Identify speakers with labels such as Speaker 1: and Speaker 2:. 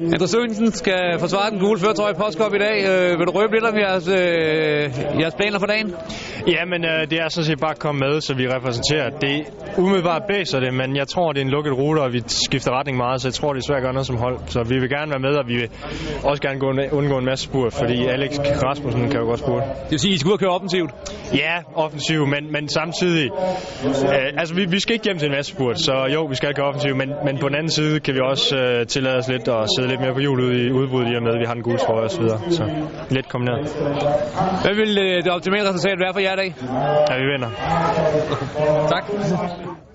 Speaker 1: Andrew Sørensen skal forsvare den gule førtrøje i Påskop i dag. Øh, vil du røbe lidt om jeres, øh, jeres planer for dagen?
Speaker 2: Jamen, øh, det er sådan set bare at komme med, så vi repræsenterer det. Umiddelbart blæser det, men jeg tror, det er en lukket rute, og vi skifter retning meget, så jeg tror, det er svært at gøre noget som hold. Så vi vil gerne være med, og vi vil også gerne gå en- undgå en masse spurt, fordi Alex Rasmussen kan jo godt spurte.
Speaker 1: Det vil sige, I skal ud og køre offensivt.
Speaker 2: Ja, offensiv, men, men samtidig... Øh, altså, vi, vi skal ikke hjem til en masse spurt, så jo, vi skal gøre offensiv, men, men på den anden side kan vi også øh, tillade os lidt og sidde lidt mere på hjulet i udbuddet, i og med, at vi har den gule trøje og så videre. Så lidt kombineret.
Speaker 1: Hvad vil øh, det optimale resultat være for jer i dag?
Speaker 2: Ja, vi vinder.
Speaker 1: Tak.